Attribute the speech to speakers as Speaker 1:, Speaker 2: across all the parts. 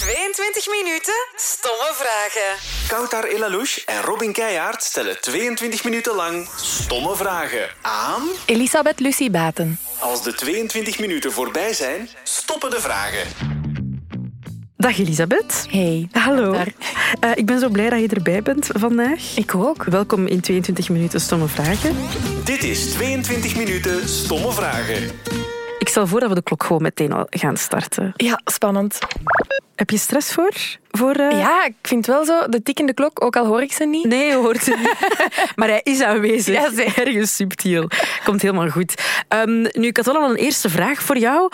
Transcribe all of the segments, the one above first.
Speaker 1: 20 minuten stomme vragen.
Speaker 2: Koutar Elalouche en Robin Keijaard stellen 22 minuten lang stomme vragen aan.
Speaker 3: Elisabeth Lucie Baten.
Speaker 2: Als de 22 minuten voorbij zijn, stoppen de vragen.
Speaker 4: Dag Elisabeth.
Speaker 3: Hey.
Speaker 4: Hallo.
Speaker 3: Dag.
Speaker 4: Eh, ik ben zo blij dat je erbij bent vandaag.
Speaker 3: Ik ook.
Speaker 4: Welkom in 22 minuten stomme vragen.
Speaker 2: Dit is 22 minuten stomme vragen.
Speaker 4: Ik stel voor dat we de klok gewoon meteen al gaan starten.
Speaker 3: Ja, spannend.
Speaker 4: Heb je stress voor? voor eh,
Speaker 3: Ja, ik vind wel zo, de tikkende klok, ook al hoor ik ze niet.
Speaker 4: Nee, je hoort het niet. maar hij is aanwezig. Ja, is ergens subtiel. Komt helemaal goed. Ehm, nu, ik had wel al een eerste vraag voor jou.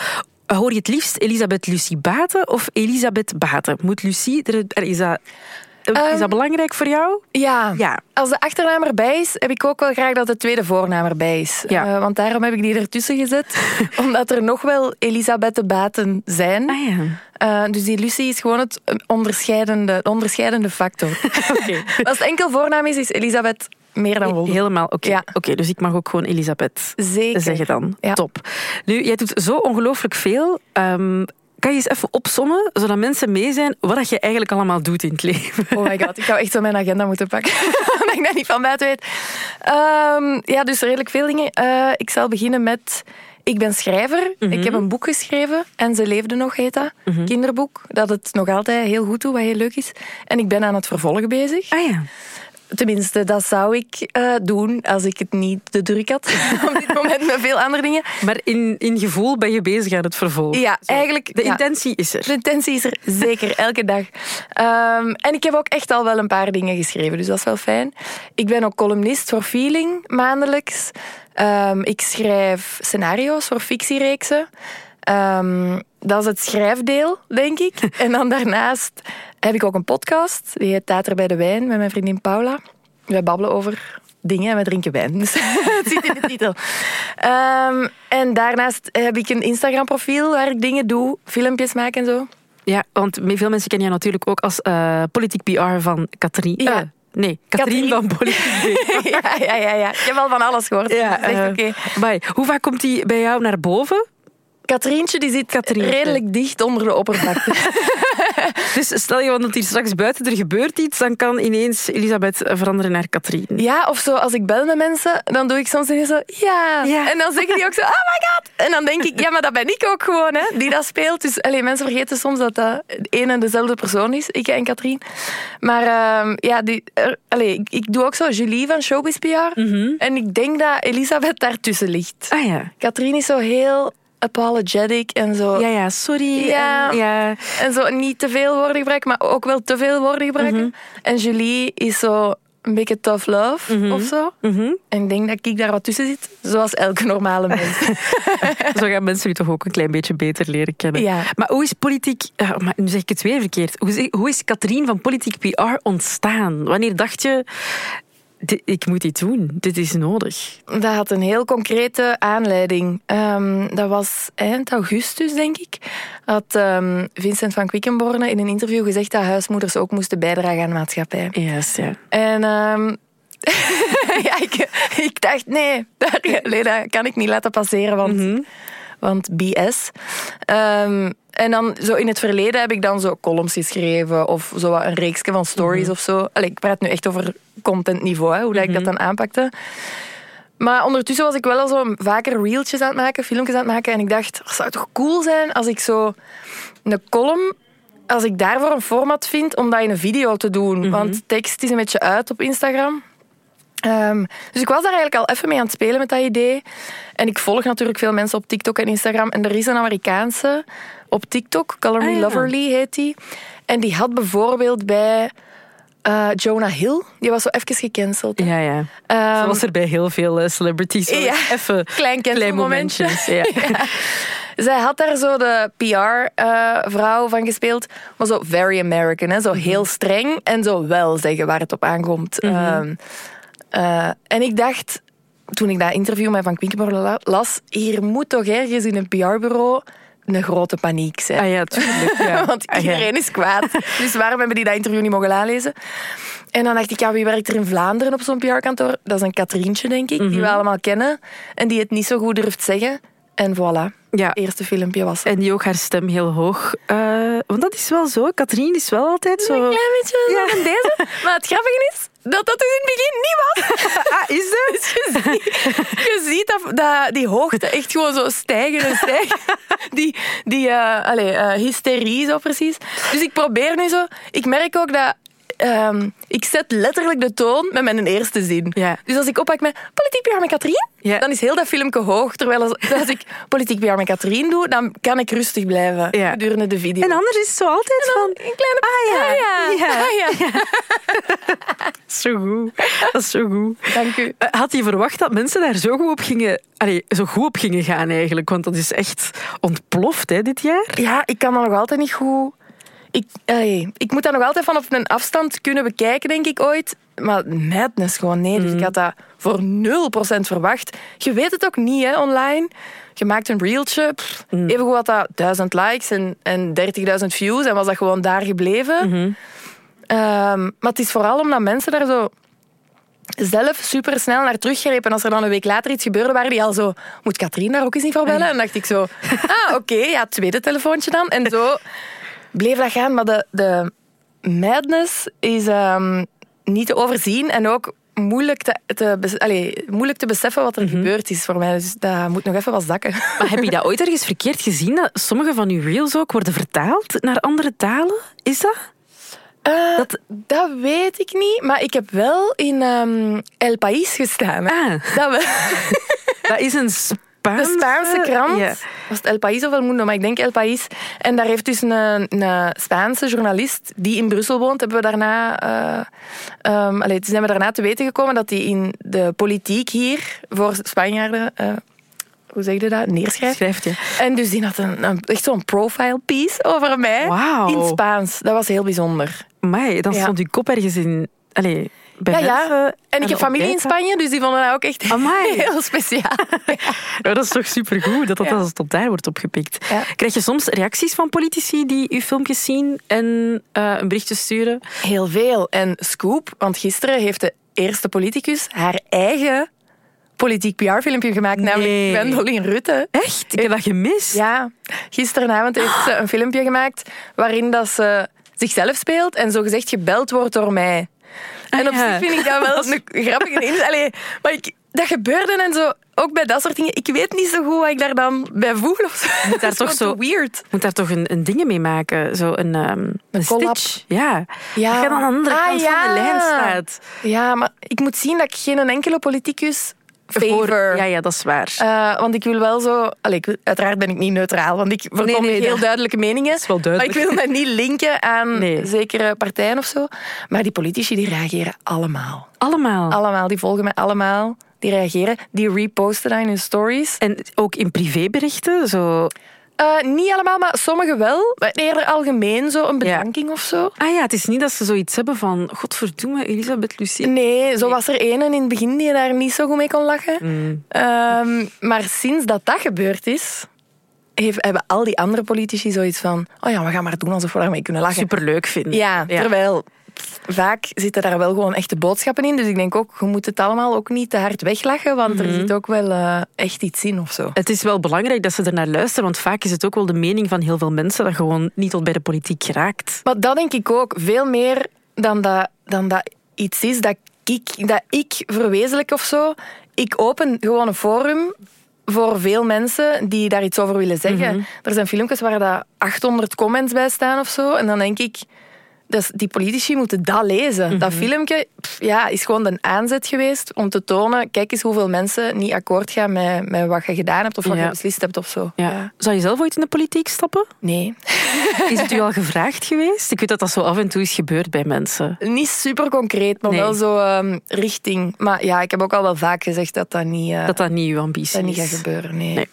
Speaker 4: Hoor je het liefst Elisabeth Lucie Baten of Elisabeth Baten? Moet Lucie... Er, er- is, dat, is
Speaker 3: Ehm,
Speaker 4: dat belangrijk voor jou?
Speaker 3: Ja.
Speaker 4: Ja.
Speaker 3: Als de achternaam erbij is, heb ik ook wel graag dat de tweede voornaam erbij is.
Speaker 4: Ja.
Speaker 3: Eh, want daarom heb ik die ertussen gezet. omdat er nog wel Elisabeth Baten zijn.
Speaker 4: Ah ja.
Speaker 3: Eh, dus die Lucie is gewoon het eh, onderscheidende, de onderscheidende factor.
Speaker 4: Oké.
Speaker 3: Als het enkel voornaam is, is Elisabeth meer dan Wolde.
Speaker 4: Helemaal, oké.
Speaker 3: Ja.
Speaker 4: Oké, dus ik mag ook gewoon Elisabeth
Speaker 3: Zeker.
Speaker 4: zeggen dan.
Speaker 3: Ja.
Speaker 4: Top. Nu, jij doet zo ongelooflijk veel. Ehm, kan je eens even opsommen, zodat mensen mee zijn, wat dat je eigenlijk allemaal doet in het leven?
Speaker 3: Oh my god, ik zou echt zo mijn agenda moeten pakken. Omdat ik dat niet van buiten weet. Ehm, ja, dus redelijk veel dingen. Eh, ik zal beginnen met... Ik ben schrijver. Ik heb een boek geschreven. En ze leefde nog, heet dat. Kinderboek. Dat het nog altijd heel goed doet, wat heel leuk is. En ik ben aan het vervolg bezig.
Speaker 4: Ah ja.
Speaker 3: Tenminste, dat zou ik eh, doen als ik het niet de druk had. Op dit moment met veel andere dingen.
Speaker 4: Maar in, in gevoel ben je bezig aan het vervolg.
Speaker 3: Ja, eigenlijk...
Speaker 4: De
Speaker 3: ja.
Speaker 4: intentie is er.
Speaker 3: De intentie is er zeker, elke dag. Ehm, en ik heb ook echt al wel een paar dingen geschreven, dus dat is wel fijn. Ik ben ook columnist voor Feeling, maandelijks. Ehm, ik schrijf scenario's voor fictiereeksen. Ehm, dat is het schrijfdeel, denk ik. En dan daarnaast heb ik ook een podcast, die heet Tater bij de Wijn, met mijn vriendin Paula. Wij babbelen over dingen en we drinken wijn. Dus het zit in de titel. Ehm, en daarnaast heb ik een Instagram-profiel waar ik dingen doe, filmpjes maak en zo.
Speaker 4: Ja, want veel mensen kennen jou natuurlijk ook als eh, politiek PR van Katrien.
Speaker 3: Ja.
Speaker 4: eh, nee,
Speaker 3: Katrien.
Speaker 4: Katrien van Politiek PR.
Speaker 3: ja, ja, ja, ja. Ik heb al van alles gehoord. Ja,
Speaker 4: eh,
Speaker 3: oké.
Speaker 4: amai, Hoe vaak komt die bij jou naar boven?
Speaker 3: Katrientje die zit
Speaker 4: Katrientje.
Speaker 3: redelijk dicht onder de oppervlakte.
Speaker 4: Dus stel je want dat hier straks buiten er gebeurt iets, dan kan ineens Elisabeth eh, veranderen naar Katrien.
Speaker 3: ja, of zo, als ik bel met mensen, dan doe ik soms zeggen zo, ja.
Speaker 4: Ja.
Speaker 3: En dan zeggen die ook zo, oh my god. En dan denk ik, ja, maar dat ben ik ook gewoon, hè, die dat speelt. Dus allee, mensen vergeten soms dat dat één en dezelfde persoon is, ik en Katrien. Maar ehm, ja, die, er- allee, ik, ik doe ook zo Julie van Showbiz PR. En ik denk dat Elisabeth daartussen ligt.
Speaker 4: Mhm. Ah ja.
Speaker 3: Katrien is zo heel apologetic en zo.
Speaker 4: Ja, ja, sorry.
Speaker 3: Ja.
Speaker 4: En, ja.
Speaker 3: En zo niet te veel woorden gebruiken, maar ook wel te veel woorden gebruiken.
Speaker 4: Mhm.
Speaker 3: En Julie is zo een beetje tough love of zo.
Speaker 4: Mhm.
Speaker 3: En ik denk dat ik daar wat tussen zit, zoals elke normale mens.
Speaker 4: Zo gaan mensen u toch ook een klein beetje beter leren kennen.
Speaker 3: Ja.
Speaker 4: Maar hoe is politiek... eh, maar nu zeg ik het weer verkeerd. Hoe, zeg- hoe is Katrien van Politiek PR ontstaan? Wanneer dacht je... "Di- Ik moet dit doen. Dit is nodig.
Speaker 3: dat had een heel concrete aanleiding. Ehm, dat was eind augustus, denk ik. Had ehm, Vincent van Quickenborne in een interview gezegd dat huismoeders ook moesten bijdragen aan de maatschappij.
Speaker 4: Juist, ja.
Speaker 3: En ehm, ja, ik, ik dacht, nee, daar, nee, dat kan ik niet laten passeren, want, want BS. Ehm, en dan zo in het verleden heb ik dan zo columns geschreven of zo wat een reeksje van stories of zo. Allee, ik praat nu echt over contentniveau, hè, hoe dat ik dat dan aanpakte. Maar ondertussen was ik wel al zo vaker reeltjes aan het maken, filmpjes aan het maken. En ik dacht, het zou toch cool zijn als ik zo een column, als ik daarvoor een format vind om dat in een video te doen.
Speaker 4: Mhm.
Speaker 3: Want tekst is een beetje uit op Instagram. Ehm, dus ik was daar eigenlijk al even mee aan het spelen met dat idee. En ik volg natuurlijk veel mensen op TikTok en Instagram. En er is een Amerikaanse op TikTok, Color Me
Speaker 4: Ah, ja.
Speaker 3: Loverly heet die. En die had bijvoorbeeld bij eh, Jonah Hill, die was zo even gecanceld. hè.
Speaker 4: Ja, ja.
Speaker 3: Ehm,
Speaker 4: Zo was er bij heel veel eh, celebrities. Zo
Speaker 3: ja.
Speaker 4: Even
Speaker 3: Klein
Speaker 4: klein
Speaker 3: cancelmomentje.
Speaker 4: momentjes. Ja.
Speaker 3: Zij had daar zo de PR-vrouw van gespeeld. Maar zo very American, hè? zo heel streng. En zo wel zeggen waar het op aankomt. Ehm, eh, en ik dacht, toen ik dat interview met Van Quickenborne la- las... hier moet toch ergens in een PR-bureau een grote paniek zijn.
Speaker 4: Ah ja, tuurlijk. Ja.
Speaker 3: Want
Speaker 4: Ah, ja.
Speaker 3: iedereen is kwaad. Dus waarom hebben die dat interview niet mogen aanlezen? En dan dacht ik, ja, wie werkt er in Vlaanderen
Speaker 4: Mhm.
Speaker 3: op zo'n PR-kantoor? Dat is een Katrientje, denk ik, die we allemaal kennen. En die het niet zo goed durft zeggen. En voilà,
Speaker 4: Ja.
Speaker 3: eerste filmpje was het.
Speaker 4: En die ook haar stem heel hoog. eh, want dat is wel zo. Katrien is wel altijd zo.
Speaker 3: beetje
Speaker 4: Ja.
Speaker 3: van deze. Maar het grappige is dat dat dus in het begin niet was.
Speaker 4: Ah, is dat?
Speaker 3: Je ziet dat, dat die hoogte echt gewoon zo stijgen en stijgen. Die, die eh, allee, eh, hysterie zo precies. Dus ik probeer nu zo... Ik merk ook dat... ehm, ik zet letterlijk de toon met mijn eerste zin.
Speaker 4: Ja.
Speaker 3: Dus als ik oppak met politiek bij met Katrien,
Speaker 4: Ja.
Speaker 3: dan is heel dat filmpje hoog. Terwijl als, als ik politiek bij met Katrien doe, dan kan ik rustig blijven
Speaker 4: Ja.
Speaker 3: gedurende de video.
Speaker 4: En anders is het zo altijd van.
Speaker 3: een kleine...
Speaker 4: Ah ja.
Speaker 3: Ah ja.
Speaker 4: Ja.
Speaker 3: Ah ja.
Speaker 4: Zo goed. Dat is zo goed.
Speaker 3: Dank u.
Speaker 4: Eh, Had je verwacht dat mensen daar zo goed op gingen, allee, zo goed op gingen gaan eigenlijk? Want dat is echt ontploft hè, dit jaar.
Speaker 3: Ja, ik kan dat nog altijd niet goed. Ik, allee, ik moet dat nog altijd vanaf een afstand kunnen bekijken, denk ik ooit. Maar madness gewoon, nee. Dus ik had dat voor 0% verwacht. Je weet het ook niet, hè, online. Je maakt een reeltje. pff, Evengoed had dat 1000 likes en, en 30.000 views. En was dat gewoon daar gebleven. Ehm, maar het is vooral omdat mensen daar zo zelf supersnel naar teruggrepen. En als er dan een week later iets gebeurde, waren die al zo... Moet Katrien daar ook eens niet voor bellen? En dan dacht ik zo... Ah, oké, ja, tweede telefoontje dan. En zo bleef dat gaan. Maar de, de madness is ehm, niet te overzien. En ook moeilijk te, te, bes- allee, moeilijk te beseffen wat er gebeurd is voor mij. Dus dat moet nog even wat zakken.
Speaker 4: Mhm. Maar heb je dat ooit ergens verkeerd gezien? Dat sommige van uw reels ook worden vertaald naar andere talen? Is dat?
Speaker 3: Eh,
Speaker 4: Dat-
Speaker 3: dat... weet ik niet. Maar ik heb wel in ehm, El País gestaan. hè.
Speaker 4: Ah,
Speaker 3: Dat wel.
Speaker 4: dat is een Spaanse,
Speaker 3: De Spaanse krant.
Speaker 4: Ja.
Speaker 3: Was het El País of El Mundo? Maar ik denk El País. En daar heeft dus een, een Spaanse journalist die in Brussel woont, hebben we daarna... eh, ehm, allee, toen zijn we daarna te weten gekomen dat hij in de politiek hier voor Spanjaarden... eh, hoe zeg je dat? Neerschrijft.
Speaker 4: Schrijft je.
Speaker 3: En dus die had een, een- echt zo'n profile piece over mij.
Speaker 4: Wauw.
Speaker 3: In Spaans. Dat was heel bijzonder.
Speaker 4: Amai, dan
Speaker 3: Ja.
Speaker 4: stond uw kop ergens in. Allee, bij
Speaker 3: Ja, ja.
Speaker 4: mensen
Speaker 3: En
Speaker 4: aan
Speaker 3: ik
Speaker 4: de
Speaker 3: heb familie in
Speaker 4: ontbijt.
Speaker 3: Spanje, dus die vonden dat ook echt
Speaker 4: Amai.
Speaker 3: heel speciaal.
Speaker 4: Ja, dat is toch supergoed dat dat
Speaker 3: Ja.
Speaker 4: als tot daar wordt opgepikt.
Speaker 3: Ja.
Speaker 4: Krijg je soms reacties van politici die uw filmpjes zien en eh, een berichtje sturen?
Speaker 3: Heel veel. En Scoop, want gisteren heeft de eerste politicus haar eigen politiek PR-filmpje gemaakt,
Speaker 4: Nee.
Speaker 3: namelijk Gwendoline Rutte.
Speaker 4: Echt? Ik heb dat gemist.
Speaker 3: Ja, gisteravond heeft ze een filmpje gemaakt waarin dat ze zichzelf speelt en zogezegd gebeld wordt door mij. En op
Speaker 4: Ah ja.
Speaker 3: zich vind ik dat wel een grappige in. Allee, maar ik, dat gebeurde en zo, ook bij dat soort dingen. Ik weet niet zo goed wat ik daar dan bij voel. Of zo.
Speaker 4: Moet daar
Speaker 3: Dat
Speaker 4: toch
Speaker 3: is gewoon
Speaker 4: zo-
Speaker 3: te weird.
Speaker 4: Je moet daar toch een, een ding mee maken? Zo een, ehm, een
Speaker 3: collab.
Speaker 4: stitch. Ja.
Speaker 3: Ja.
Speaker 4: Dat je dan aan de andere
Speaker 3: Ah,
Speaker 4: kant van
Speaker 3: ja.
Speaker 4: de lijn staat.
Speaker 3: Ja, maar ik moet zien dat ik geen enkele politicus favor.
Speaker 4: Voor- ja, ja, dat is waar.
Speaker 3: Eh, want ik wil wel zo... Allee, ik wil- uiteraard ben ik niet neutraal, want ik verkom
Speaker 4: Nee, nee,
Speaker 3: heel
Speaker 4: dat-
Speaker 3: duidelijke meningen.
Speaker 4: is wel duidelijk.
Speaker 3: Maar ik wil mij niet linken aan
Speaker 4: Nee.
Speaker 3: zekere partijen of zo. Maar die politici die reageren allemaal.
Speaker 4: Allemaal.
Speaker 3: Allemaal, die volgen mij allemaal. Die reageren, die reposten dat in hun stories.
Speaker 4: en ook in privéberichten, zo...
Speaker 3: Eh, niet allemaal, maar sommigen wel. Maar Eerder algemeen, zo een bedanking of zo.
Speaker 4: Ah ja, het is niet dat ze zoiets hebben van... Godverdomme, Elisabeth Lucie.
Speaker 3: Nee, zo was er één in het begin die daar niet zo goed mee kon lachen. Ehm, maar sinds dat dat gebeurd is, heeft, hebben al die andere politici zoiets van... Oh ja, we gaan maar doen alsof we daarmee kunnen lachen.
Speaker 4: Superleuk vinden.
Speaker 3: Ja, terwijl pff, vaak zitten daar wel gewoon echte boodschappen in. Dus ik denk ook, je moet het allemaal ook niet te hard weglachen. Want er zit ook wel eh, echt iets in of zo.
Speaker 4: Het is wel belangrijk dat ze ernaar luisteren, want vaak is het ook wel de mening van heel veel mensen dat gewoon niet tot bij de politiek geraakt.
Speaker 3: Maar dat denk ik ook. Veel meer dan dat, dan dat iets is dat ik, dat ik verwezenlijk of zo. Ik open gewoon een forum voor veel mensen die daar iets over willen zeggen.
Speaker 4: Mhm.
Speaker 3: Er zijn filmpjes waar dat 800 comments bij staan of zo. En dan denk ik, dus die politici moeten dat lezen.
Speaker 4: Mhm.
Speaker 3: Dat filmpje pff, ja, is gewoon een aanzet geweest om te tonen... kijk eens hoeveel mensen niet akkoord gaan met, met wat je gedaan hebt of wat
Speaker 4: Ja.
Speaker 3: je beslist hebt of zo.
Speaker 4: Ja. Zou je zelf ooit in de politiek stappen?
Speaker 3: Nee.
Speaker 4: Is het u al gevraagd geweest? Ik weet dat dat zo af en toe is gebeurd bij mensen.
Speaker 3: Niet super concreet, maar
Speaker 4: Nee.
Speaker 3: wel zo ehm, richting. Maar ja, ik heb ook al wel vaak gezegd dat dat niet, eh,
Speaker 4: Dat
Speaker 3: dat
Speaker 4: dat niet uw ambitie
Speaker 3: dat niet gaat
Speaker 4: is.
Speaker 3: gebeuren. Nee.
Speaker 4: Nee.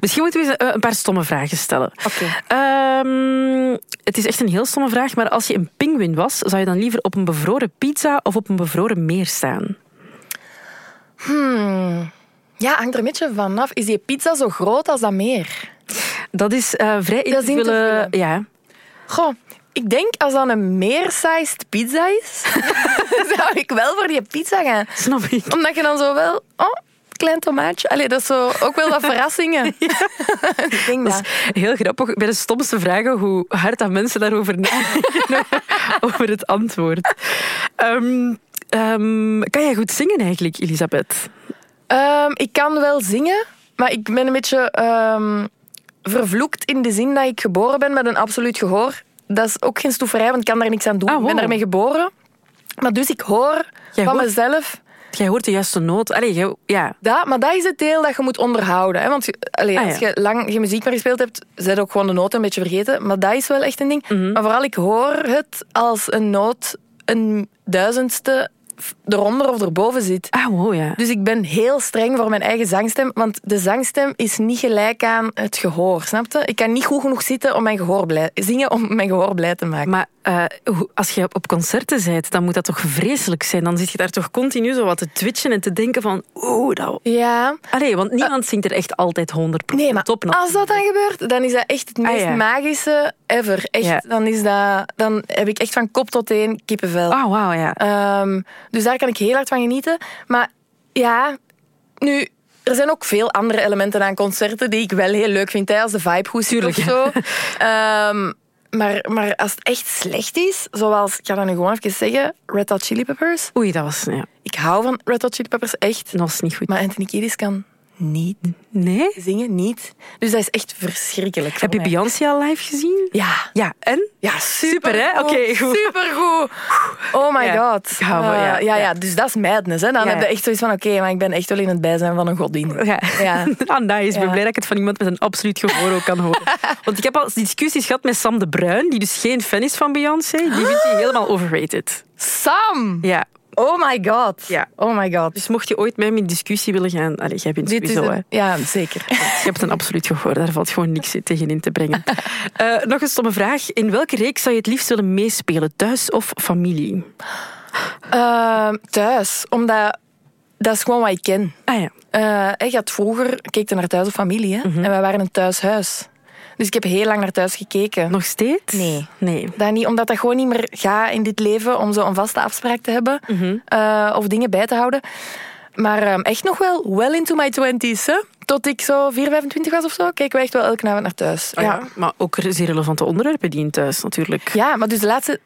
Speaker 4: Misschien moeten we eens, eh, een paar stomme vragen stellen.
Speaker 3: Oké.
Speaker 4: Ehm, het is echt een heel stomme vraag, maar als je een pinguïn was, zou je dan liever op een bevroren pizza of op een bevroren meer staan?
Speaker 3: Ja, hangt er een beetje vanaf. Is die pizza zo groot als dat meer?
Speaker 4: Dat is eh, vrij
Speaker 3: Dat is in te
Speaker 4: individuele- Ja.
Speaker 3: Goh, ik denk als dat een meer-sized pizza is, zou ik wel voor die pizza gaan.
Speaker 4: Snap ik.
Speaker 3: Omdat je dan zo wel... Oh, klein tomaatje. Allee, dat is zo ook wel wat verrassingen. ik denk
Speaker 4: Dat
Speaker 3: dat.
Speaker 4: is heel grappig. Bij de stomste vragen hoe hard dat mensen daarover nadenken. over het antwoord. Ehm, ehm, kan jij goed zingen eigenlijk, Elisabeth?
Speaker 3: Ehm, ik kan wel zingen, maar ik ben een beetje ehm, vervloekt in de zin dat ik geboren ben met een absoluut gehoor. Dat is ook geen stoeverij, want ik kan daar niks aan doen.
Speaker 4: Ah, wow.
Speaker 3: Ik ben daarmee geboren. Maar dus ik hoor
Speaker 4: Jij
Speaker 3: van
Speaker 4: hoort-
Speaker 3: mezelf
Speaker 4: Jij hoort de juiste noot. Allee, jij- ja.
Speaker 3: Dat, maar dat is het deel dat je moet onderhouden. Hè? Want je- allee,
Speaker 4: Ah, ja.
Speaker 3: als je lang geen muziek meer gespeeld hebt, zijn ook gewoon de noten een beetje vergeten. Maar dat is wel echt een ding.
Speaker 4: Mhm.
Speaker 3: Maar vooral, ik hoor het als een noot een duizendste f- eronder of erboven zit.
Speaker 4: Ah, wow, ja.
Speaker 3: Dus ik ben heel streng voor mijn eigen zangstem, want de zangstem is niet gelijk aan het gehoor, snap je? Ik kan niet goed genoeg zitten om mijn gehoor blij, zingen om mijn gehoor blij te maken.
Speaker 4: Maar eh, hoe- als je op concerten bent, dan moet dat toch vreselijk zijn? Dan zit je daar toch continu zo wat te twitchen en te denken van... Oeh, dat...
Speaker 3: ja,
Speaker 4: Allee, want niemand zingt er echt altijd 100%
Speaker 3: Eh. Nee, maar
Speaker 4: op.
Speaker 3: als dat dan gebeurt, dan is dat echt het meest
Speaker 4: Ah, ja.
Speaker 3: magische ever. Echt,
Speaker 4: Ja.
Speaker 3: dan, is dat, dan heb ik echt van kop tot teen kippenvel.
Speaker 4: Ah, wauw, ja.
Speaker 3: Ehm, dus daar kan ik heel hard van genieten. Maar ja, nu... Er zijn ook veel andere elementen aan concerten die ik wel heel leuk vind. Hè, als de vibe goed zit of zo. Ehm, maar, maar als het echt slecht is, zoals... Ik ga dat nu gewoon even zeggen. Red Hot Chili Peppers.
Speaker 4: Oei, dat was, ja,
Speaker 3: Ik hou van Red Hot Chili Peppers, echt.
Speaker 4: dat was niet goed.
Speaker 3: Maar Anthony Kiedis kan niet
Speaker 4: nee?
Speaker 3: zingen, niet. Dus dat is echt verschrikkelijk voor
Speaker 4: Heb je
Speaker 3: mij.
Speaker 4: Beyoncé al live gezien?
Speaker 3: Ja.
Speaker 4: Ja, en?
Speaker 3: Ja, super,
Speaker 4: Super, hè? Oké, goed.
Speaker 3: Supergoed. Oh my
Speaker 4: Ja,
Speaker 3: god.
Speaker 4: ik hou van,
Speaker 3: Eh,
Speaker 4: ja,
Speaker 3: ja,
Speaker 4: ja.
Speaker 3: dus dat is madness. Hè? Dan
Speaker 4: Ja.
Speaker 3: heb je echt zoiets van, oké, maar ik ben echt wel in het bijzijn van een godin.
Speaker 4: Ja.
Speaker 3: Ja.
Speaker 4: Ah, nice. Ik ben
Speaker 3: Ja.
Speaker 4: blij dat ik het van iemand met een absoluut gehoor ook kan horen. Want ik heb al discussies gehad met Sam de Bruin, die dus geen fan is van Beyoncé. Die vindt die
Speaker 3: Ah.
Speaker 4: helemaal overrated.
Speaker 3: Sam!
Speaker 4: Ja.
Speaker 3: Oh my god.
Speaker 4: Ja.
Speaker 3: Oh my god.
Speaker 4: Dus mocht je ooit met me in discussie willen gaan... Allee, jij bent
Speaker 3: Dit is
Speaker 4: sowieso... hè.
Speaker 3: een- ja, zeker.
Speaker 4: Je hebt een absoluut gehoor, daar valt gewoon niks tegen in te brengen. Eh, nog een stomme vraag. In welke reeks zou je het liefst willen meespelen? Thuis of familie?
Speaker 3: Ehm, thuis, omdat dat is gewoon wat ik ken.
Speaker 4: Ah ja.
Speaker 3: Eh, ik had vroeger, keek naar thuis of familie, hè?
Speaker 4: Mhm.
Speaker 3: en wij waren een thuishuis. Dus ik heb heel lang naar thuis gekeken.
Speaker 4: Nog steeds?
Speaker 3: Nee.
Speaker 4: Nee.
Speaker 3: Dat niet, omdat dat gewoon niet meer gaat in dit leven om zo'n vaste afspraak te hebben
Speaker 4: Mhm.
Speaker 3: eh, of dingen bij te houden. Maar ehm, echt nog wel well into my twenties, hè. Tot ik zo 4, 25 was of zo, keken we echt wel elke avond naar thuis.
Speaker 4: Ah,
Speaker 3: ja.
Speaker 4: ja.
Speaker 3: Ja.
Speaker 4: Maar ook zeer relevante onderwerpen die in thuis natuurlijk.
Speaker 3: maar dus de laatste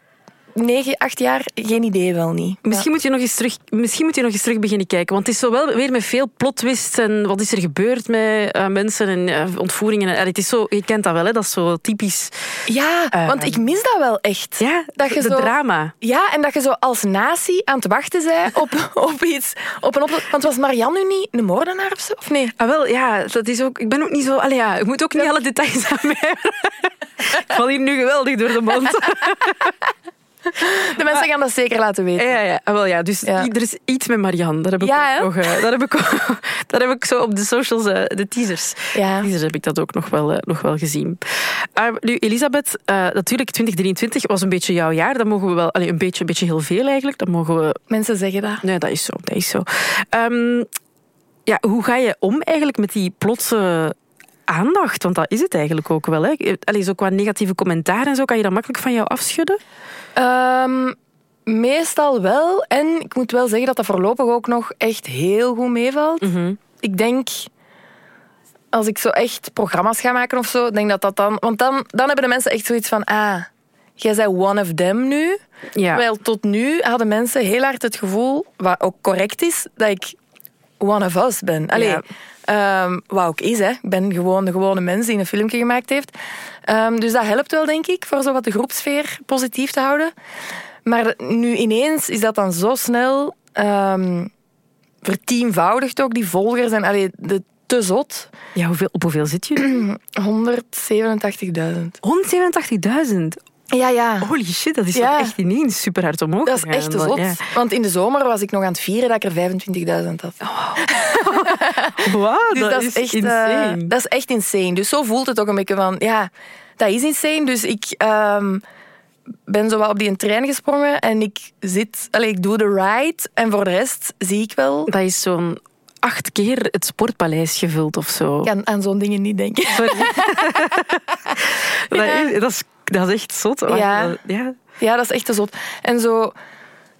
Speaker 3: 9, 8 jaar, geen idee wel niet.
Speaker 4: Misschien moet, je nog eens terug, misschien moet je nog eens terug beginnen kijken. Want het is zo wel weer met veel plotwist en wat is er gebeurd met eh, mensen en eh, ontvoeringen. En, allee, het is zo, je kent dat wel, hè? dat is zo typisch.
Speaker 3: Ja,
Speaker 4: Eh,
Speaker 3: want ik mis dat wel echt.
Speaker 4: Ja,
Speaker 3: Dat je
Speaker 4: de
Speaker 3: zo-
Speaker 4: drama.
Speaker 3: Ja, en dat je zo als natie aan het wachten bent op, op iets. Op een op Want was Marianne nu niet een moordenaar of zo? Of nee?
Speaker 4: Ah, wel, ja, dat is ook. Ik ben ook niet zo. Allee, ja, ik moet ook niet alle details aan mij hebben. Ik val hier nu geweldig door de mond.
Speaker 3: De
Speaker 4: Ah.
Speaker 3: mensen gaan dat zeker laten weten.
Speaker 4: Ja, ja, ja. Ah, Wel, ja. Dus
Speaker 3: Ja.
Speaker 4: i- er is iets met Marianne. Daar heb ik
Speaker 3: Ja,
Speaker 4: ook
Speaker 3: hè?
Speaker 4: nog. eh, daar, heb ik ook- daar heb ik zo op de socials, eh, de teasers.
Speaker 3: Ja.
Speaker 4: Teasers heb ik dat ook nog wel, eh, nog wel gezien. Ah, nu, Elisabeth, eh, natuurlijk, 2023 was een beetje jouw jaar. Dat mogen we wel. Allee, een beetje, een beetje heel veel eigenlijk. Dat mogen we.
Speaker 3: Mensen zeggen dat.
Speaker 4: Nee, dat is zo. Dat is zo. Ehm, ja, hoe ga je om eigenlijk met die plotse. Aandacht, want dat is het eigenlijk ook wel. Hè? Allee, zo qua negatieve commentaar en zo, kan je dat makkelijk van jou afschudden?
Speaker 3: Ehm, meestal wel. En ik moet wel zeggen dat dat voorlopig ook nog echt heel goed meevalt. Ik denk, als ik zo echt programma's ga maken of zo, ik denk dat dat dan... Want dan, dan hebben de mensen echt zoiets van... Ah, jij bent one of them nu.
Speaker 4: Ja.
Speaker 3: Terwijl tot nu hadden mensen heel hard het gevoel, wat ook correct is, dat ik one of us ben. Allee,
Speaker 4: Ja.
Speaker 3: ehm, wat ook is, hè. ik ben gewoon de gewone mens die een filmpje gemaakt heeft. Ehm, dus dat helpt wel, denk ik, voor zo wat de groepsfeer positief te houden. Maar de- nu ineens is dat dan zo snel ehm, vertienvoudigd ook, die volgers en allee, de, te zot.
Speaker 4: ja hoeveel, op hoeveel zit je nu?
Speaker 3: 187.000.
Speaker 4: 187.000.
Speaker 3: Ja, ja.
Speaker 4: Holy shit, dat is
Speaker 3: Ja.
Speaker 4: toch echt ineens super hard omhoog.
Speaker 3: Dat is
Speaker 4: gegaan.
Speaker 3: echt te zot.
Speaker 4: Ja.
Speaker 3: Want in de zomer was ik nog aan het vieren dat ik er 25.000 had.
Speaker 4: Wauw,
Speaker 3: Dus
Speaker 4: dat,
Speaker 3: dat,
Speaker 4: is
Speaker 3: echt, eh,
Speaker 4: insane.
Speaker 3: dat is echt insane. Dus zo voelt het ook een beetje van, ja, dat is insane. Dus ik ehm, ben zo wel op die trein gesprongen en ik zit, allee, ik doe de ride en voor de rest zie ik wel.
Speaker 4: Dat is zo'n acht keer het sportpaleis gevuld of zo.
Speaker 3: Ik kan aan zo'n dingen niet denken.
Speaker 4: Sorry. dat, is, dat, is, dat is echt zot. maar
Speaker 3: Ja.
Speaker 4: dat- ja.
Speaker 3: Ja, dat is echt te zot. En zo,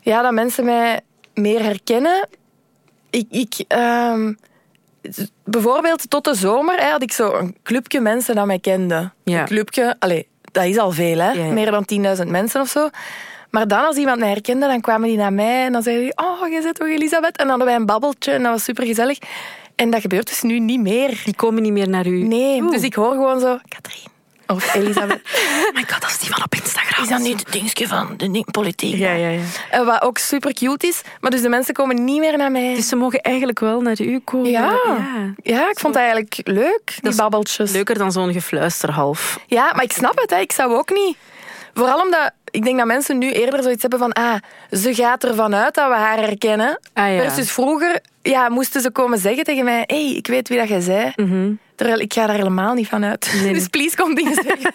Speaker 3: ja, dat mensen mij meer herkennen. Ik, ik, ehm, bijvoorbeeld tot de zomer hè, had ik zo een clubje mensen dat mij kenden.
Speaker 4: Ja.
Speaker 3: Een clubje, allee, dat is al veel, hè?
Speaker 4: Ja, ja.
Speaker 3: meer dan 10.000 mensen of zo. Maar dan, als iemand mij herkende, dan kwamen die naar mij en dan zeiden die: Oh, je zit toch Elisabeth? En dan hadden wij een babbeltje en dat was supergezellig. En dat gebeurt dus nu niet meer.
Speaker 4: Die komen niet meer naar u.
Speaker 3: Nee,
Speaker 4: Oeh.
Speaker 3: dus ik hoor gewoon zo: Katrien of Elisabeth.
Speaker 4: Oh my god, dat is die van op Instagram.
Speaker 3: Is dat niet het dingetje van de ding- politiek?
Speaker 4: Ja, ja, ja.
Speaker 3: Eh, wat ook super cute is. Maar dus de mensen komen niet meer naar mij.
Speaker 4: Dus ze mogen eigenlijk wel naar u komen.
Speaker 3: ja.
Speaker 4: ja.
Speaker 3: Ja. ik vond het eigenlijk leuk, die
Speaker 4: is
Speaker 3: babbeltjes.
Speaker 4: Leuker dan zo'n gefluister half.
Speaker 3: Ja, maar ik snap het, hè. ik zou ook niet. Vooral omdat ik denk dat mensen nu eerder zoiets hebben van ah, ze gaat ervan uit dat we haar herkennen.
Speaker 4: Ah, ja.
Speaker 3: Versus vroeger ja, moesten ze komen zeggen tegen mij, hey, ik weet wie dat jij zei. Terwijl ik ga daar helemaal niet van uit. Dus please, kom dingen zeggen.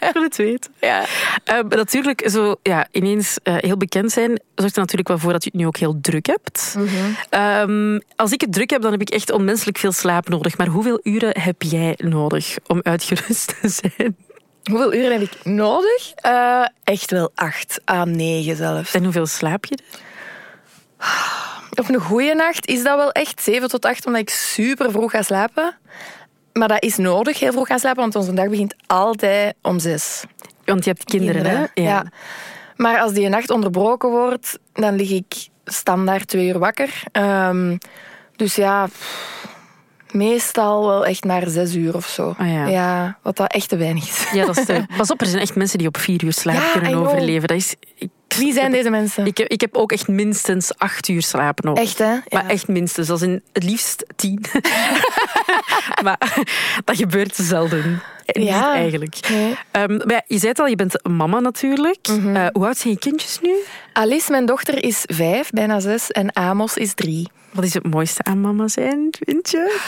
Speaker 4: Ik wil het weten.
Speaker 3: ja.
Speaker 4: Eh, natuurlijk, zo ja, ineens eh, heel bekend zijn, zorgt er natuurlijk wel voor dat je het nu ook heel druk hebt.
Speaker 3: Mhm.
Speaker 4: Ehm, als ik het druk heb, dan heb ik echt onmenselijk veel slaap nodig. Maar hoeveel uren heb jij nodig om uitgerust te zijn?
Speaker 3: Hoeveel uren heb ik nodig? Eh, echt wel acht à negen zelfs.
Speaker 4: En hoeveel slaap je er?
Speaker 3: Op een goede nacht is dat wel echt 7 tot 8, omdat ik super vroeg ga slapen. Maar dat is nodig, heel vroeg gaan slapen, want onze dag begint altijd om 6.
Speaker 4: Want je hebt kinderen, hè?
Speaker 3: Ja. Maar als die nacht onderbroken wordt, dan lig ik standaard twee uur wakker. Ehm, dus ja, pff, meestal wel echt naar zes uur of zo.
Speaker 4: Ah ja.
Speaker 3: wat dat echt te weinig is.
Speaker 4: Ja, dat is te- Pas op, er zijn echt mensen die op vier uur slaap
Speaker 3: Ja, I
Speaker 4: kunnen
Speaker 3: know.
Speaker 4: overleven. Dat is... ik-
Speaker 3: Wie zijn deze mensen?
Speaker 4: Ik heb, ik heb ook echt minstens acht uur slaap nodig.
Speaker 3: Echt, hè? Ja.
Speaker 4: Maar echt minstens, dat is in het liefst tien. maar dat gebeurt zelden. Ja.
Speaker 3: Ja.
Speaker 4: eigenlijk.
Speaker 3: Nee.
Speaker 4: Ehm, maar ja, je zei het al, je bent mama natuurlijk. Eh, hoe oud zijn je kindjes nu?
Speaker 3: Alice, mijn dochter, is vijf, bijna zes. En Amos is drie.
Speaker 4: Wat is het mooiste aan mama zijn, vind je?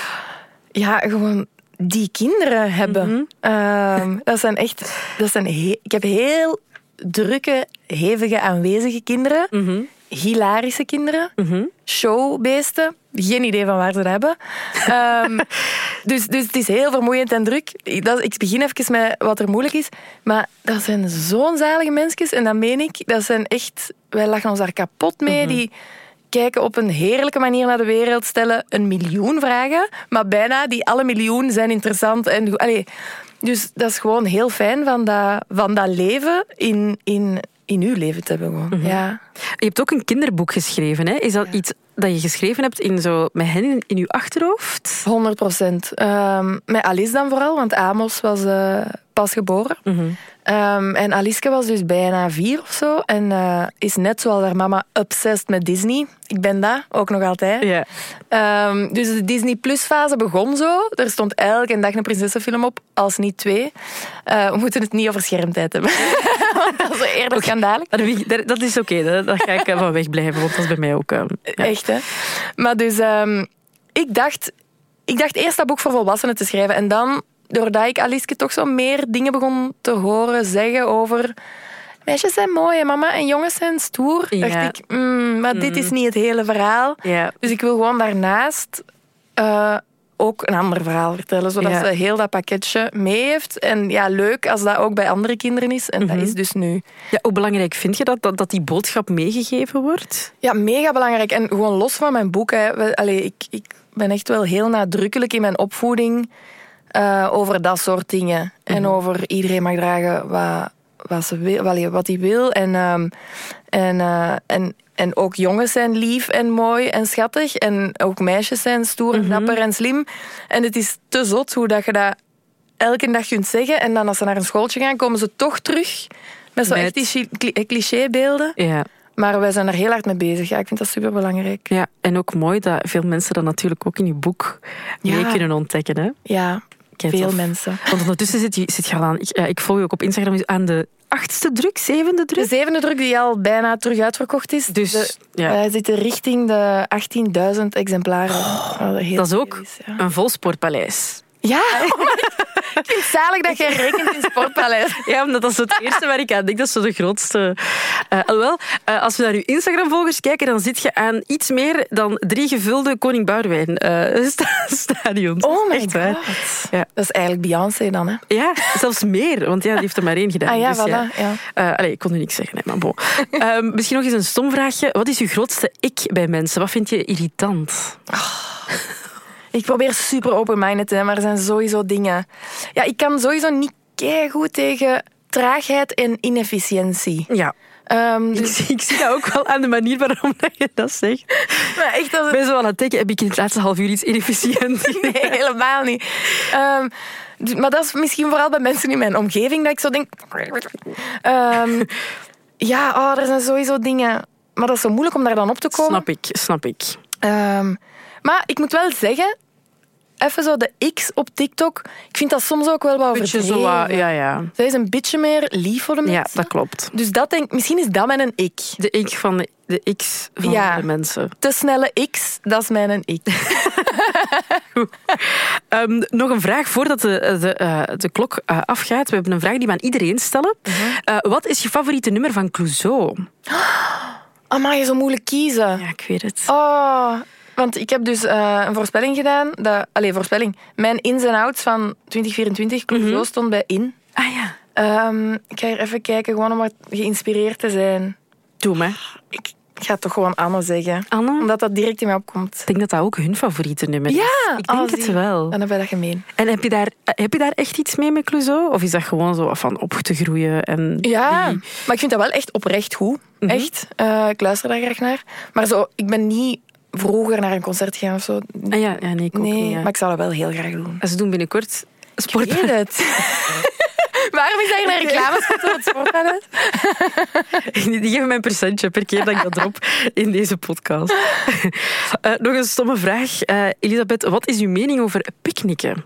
Speaker 3: ja, gewoon die kinderen hebben. Ehm, dat zijn echt. Dat zijn he- ik heb heel drukke, hevige, aanwezige kinderen. Hilarische kinderen. Showbeesten. Geen idee van waar ze dat hebben. Ehm, dus, dus het is heel vermoeiend en druk. Ik- Dat, ik begin even met wat er moeilijk is. Maar dat zijn zo'n zalige mensjes. En dat meen ik. Dat zijn echt... Wij lachen ons daar kapot mee. Die kijken op een heerlijke manier naar de wereld. Stellen een miljoen vragen. Maar bijna die alle miljoen zijn interessant. En, go- allee, dus dat is gewoon heel fijn van dat, van dat leven in, in, in uw leven te hebben. Gewoon. ja.
Speaker 4: Je hebt ook een kinderboek geschreven. Hè? Is dat iets dat je geschreven hebt in zo, met hen in, in je achterhoofd?
Speaker 3: 100 procent. Ehm, met Alice dan vooral, want Amos was eh, pas geboren. Ehm, en Alice was dus bijna vier of zo. En eh, is net zoals haar mama obsessed met Disney. Ik ben dat, ook nog altijd.
Speaker 4: Ja.
Speaker 3: Ehm, dus de Disney Plus fase begon zo. Er stond elke dag een prinsessenfilm op, als niet twee. Eh, we moeten het niet over schermtijd hebben. want dat is eerder schandalig.
Speaker 4: Dat heb ik- dat- Dat is oké, dat daar ga ik eh, van wegblijven, want dat is bij mij ook... eh, ja.
Speaker 3: Echt, hè? Maar dus, ehm, ik, dacht, ik dacht eerst dat boek voor volwassenen te schrijven. En dan, doordat ik Alice toch zo meer dingen begon te horen zeggen over... Meisjes zijn mooi, hè, mama, en jongens zijn stoer.
Speaker 4: Ja.
Speaker 3: dacht ik, "Mm, maar dit is niet het hele verhaal.
Speaker 4: Ja.
Speaker 3: Dus ik wil gewoon daarnaast eh, ook een ander verhaal vertellen, zodat
Speaker 4: Ja.
Speaker 3: ze heel dat pakketje mee heeft. En ja, leuk als dat ook bij andere kinderen is. En
Speaker 4: Mhm.
Speaker 3: dat is dus nu.
Speaker 4: Ja, hoe belangrijk vind je dat, dat, dat die boodschap meegegeven wordt?
Speaker 3: Ja, mega belangrijk. En gewoon los van mijn boek. Hè. We- Allee, ik, ik ben echt wel heel nadrukkelijk in mijn opvoeding eh, over dat soort dingen. En over iedereen mag dragen wat, wat, ze wil, allee, wat hij wil. En, ehm, en, eh, en, en ook jongens zijn lief en mooi en schattig. En ook meisjes zijn stoer en dapper en slim. En het is te zot hoe dat je dat elke dag kunt zeggen. En dan als ze naar een schooltje gaan, komen ze toch terug met zo
Speaker 4: Met-
Speaker 3: echt die chi- cli- clichébeelden.
Speaker 4: Ja.
Speaker 3: Maar wij zijn er heel hard mee bezig. Ja, ik vind dat superbelangrijk.
Speaker 4: ja. En ook mooi dat veel mensen dat natuurlijk ook in je boek mee
Speaker 3: Ja.
Speaker 4: kunnen ontdekken. Hè?
Speaker 3: Ja,
Speaker 4: Kijk,
Speaker 3: veel
Speaker 4: tof.
Speaker 3: mensen.
Speaker 4: Want ondertussen zit je, zit je al aan... Ik, eh, ik volg je ook op Instagram is aan de achtste druk, zevende
Speaker 3: De
Speaker 4: druk.
Speaker 3: zevende druk die al bijna terug uitverkocht is.
Speaker 4: Dus,
Speaker 3: de, eh,
Speaker 4: ja.
Speaker 3: wij zitten richting de 18.000 exemplaren. Wat heel
Speaker 4: Oh, Dat is
Speaker 3: veel
Speaker 4: ook
Speaker 3: ja,
Speaker 4: een vol sportpaleis.
Speaker 3: Ja, ik vind het zalig dat jij rekent in Sportpaleis.
Speaker 4: Ja, omdat dat is het eerste waar ik aan denk. Dat is zo de grootste. Eh alhoewel, eh, als we naar uw Instagram-volgers kijken, dan zit je aan iets meer dan drie gevulde Koning Boudewijn eh, sta- stadions.
Speaker 3: Oh my
Speaker 4: Echt waar.
Speaker 3: god.
Speaker 4: Ja.
Speaker 3: Dat is eigenlijk Beyoncé dan, hè?
Speaker 4: Ja, zelfs meer, want ja, die heeft er maar één gedaan.
Speaker 3: Ah ja,
Speaker 4: dus
Speaker 3: voilà, ja.
Speaker 4: Eh, allee, ik kon nu niks zeggen, hè, maar bon. Ehm, misschien nog eens een stom vraagje. Wat is uw grootste ik bij mensen? Wat vind je irritant?
Speaker 3: Ik probeer super open-minded te zijn, maar er zijn sowieso dingen. Ja, ik kan sowieso niet goed tegen traagheid en inefficiëntie.
Speaker 4: Ja.
Speaker 3: Ehm,
Speaker 4: Ik
Speaker 3: dus,
Speaker 4: zie, ik zie dat ook wel aan de manier waarom dat je dat zegt.
Speaker 3: maar echt, dat
Speaker 4: Ik
Speaker 3: is-
Speaker 4: ben zo wel aan het denken, heb ik in het laatste half uur iets inefficiënt?
Speaker 3: Nee, helemaal niet. Ehm, d- maar dat is misschien vooral bij mensen in mijn omgeving dat ik zo denk. Ehm, ja, oh, er zijn sowieso dingen. Maar dat is zo moeilijk om daar dan op te komen.
Speaker 4: Snap ik, snap ik.
Speaker 3: Ehm, maar ik moet wel zeggen, even zo de X op TikTok. Ik vind dat soms ook wel wat
Speaker 4: Beetje
Speaker 3: overdreven.
Speaker 4: zo, wat- ja, ja.
Speaker 3: Zij is een beetje meer lief voor de mensen.
Speaker 4: Ja, dat klopt.
Speaker 3: Dus dat denk, misschien is dat mijn ik.
Speaker 4: De ik van de, de x van
Speaker 3: Ja.
Speaker 4: de mensen.
Speaker 3: Te snelle X, dat is mijn ik.
Speaker 4: Ehm, nog een vraag voordat de, de, eh, de klok eh, afgaat. We hebben een vraag die we aan iedereen stellen.
Speaker 3: Mhm.
Speaker 4: Eh, wat is je favoriete nummer van Clouseau?
Speaker 3: Amai, zo moeilijk kiezen.
Speaker 4: Ja, ik weet het.
Speaker 3: Oh, want ik heb dus eh, een voorspelling gedaan. Dat, allee, voorspelling. Mijn ins en outs van 2024,
Speaker 4: Mhm.
Speaker 3: Club Zo stond bij in.
Speaker 4: Ah ja.
Speaker 3: Ehm, ik ga hier even kijken, gewoon om wat geïnspireerd te zijn.
Speaker 4: Doe maar.
Speaker 3: Ik ga toch gewoon Anne zeggen.
Speaker 4: Anne?
Speaker 3: Omdat dat direct in mij opkomt.
Speaker 4: Ik denk dat dat ook hun favoriete nummer is. Ik denk
Speaker 3: oh,
Speaker 4: het
Speaker 3: zie.
Speaker 4: wel.
Speaker 3: Dan hebben we dat gemeen.
Speaker 4: En heb je, daar, eh, heb je daar echt iets mee met Clouseau? Of is dat gewoon zo van op te groeien? En
Speaker 3: Ja,
Speaker 4: die-
Speaker 3: maar ik vind dat wel echt oprecht goed.
Speaker 4: Mhm.
Speaker 3: Echt. Eh, ik luister daar graag naar. Maar zo, ik ben niet vroeger naar een concert gegaan of zo.
Speaker 4: Ah ja, ja, nee, ik ook
Speaker 3: Nee,
Speaker 4: niet. ja.
Speaker 3: maar ik zou dat wel heel graag doen.
Speaker 4: Ze doen binnenkort sport.
Speaker 3: Ik weet het. Waarom is dat hier een reclamespot voor het sportpaleis?
Speaker 4: Die geven mij een percentje per keer dat ik dat drop in deze podcast. Eh, nog een stomme vraag. Eh, Elisabeth, wat is uw mening over picknicken?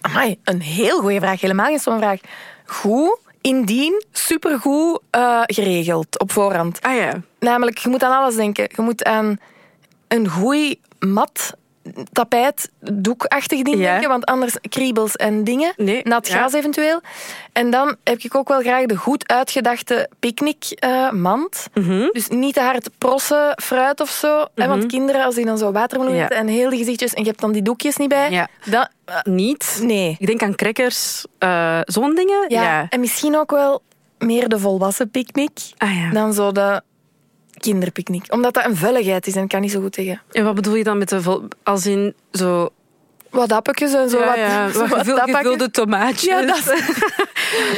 Speaker 3: Amai, een heel goede vraag. Helemaal geen stomme vraag. Goed, indien supergoed eh geregeld op voorhand.
Speaker 4: Ah ja.
Speaker 3: Namelijk, je moet aan alles denken. Je moet aan een goeie mat, tapijt, doekachtig ding
Speaker 4: Ja.
Speaker 3: denken, want anders kriebels en dingen.
Speaker 4: Nee,
Speaker 3: Nat
Speaker 4: ja.
Speaker 3: gras eventueel. En dan heb ik ook wel graag de goed uitgedachte picknickmand.
Speaker 4: Mhm.
Speaker 3: Dus niet te hard prossen, fruit of zo. hè, want kinderen, als die dan zo watermeloen
Speaker 4: Ja.
Speaker 3: eten en heel die gezichtjes en je hebt dan die doekjes niet bij.
Speaker 4: Ja.
Speaker 3: Dan, eh,
Speaker 4: Niet?
Speaker 3: nee.
Speaker 4: Ik denk aan crackers, eh, zo'n dingen.
Speaker 3: Ja, En misschien ook wel meer de volwassen picknick
Speaker 4: Ah ja.
Speaker 3: dan zo de kinderpicknick. Omdat dat een vulligheid is en ik kan niet zo goed tegen.
Speaker 4: En wat bedoel je dan met de... vol- Als in zo...
Speaker 3: Wat appetjes en zo.
Speaker 4: ja,
Speaker 3: wat,
Speaker 4: ja,
Speaker 3: zo
Speaker 4: wat
Speaker 3: wat
Speaker 4: gevul-
Speaker 3: tappakjes.
Speaker 4: gevulde tomaatjes.
Speaker 3: Ja, dat is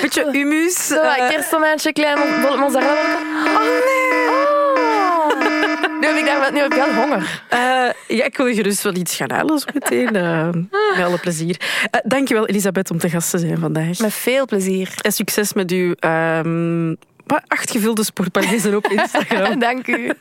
Speaker 4: Beetje humus.
Speaker 3: zo. wat
Speaker 4: eh,
Speaker 3: Kersttomaatje, klein mo- mo- mozzarella. Oh nee!
Speaker 4: Oh.
Speaker 3: Nu heb ik, daar wel, nu heb ik wel honger.
Speaker 4: eh, ja, ik wil gerust wel iets gaan halen zo meteen. eh, met alle plezier. Eh dankjewel, Elisabeth, om te gast te zijn vandaag.
Speaker 3: Met veel plezier.
Speaker 4: En succes met uw ehm, wat, acht gevulde sportpagina's op Instagram.
Speaker 3: Dank u.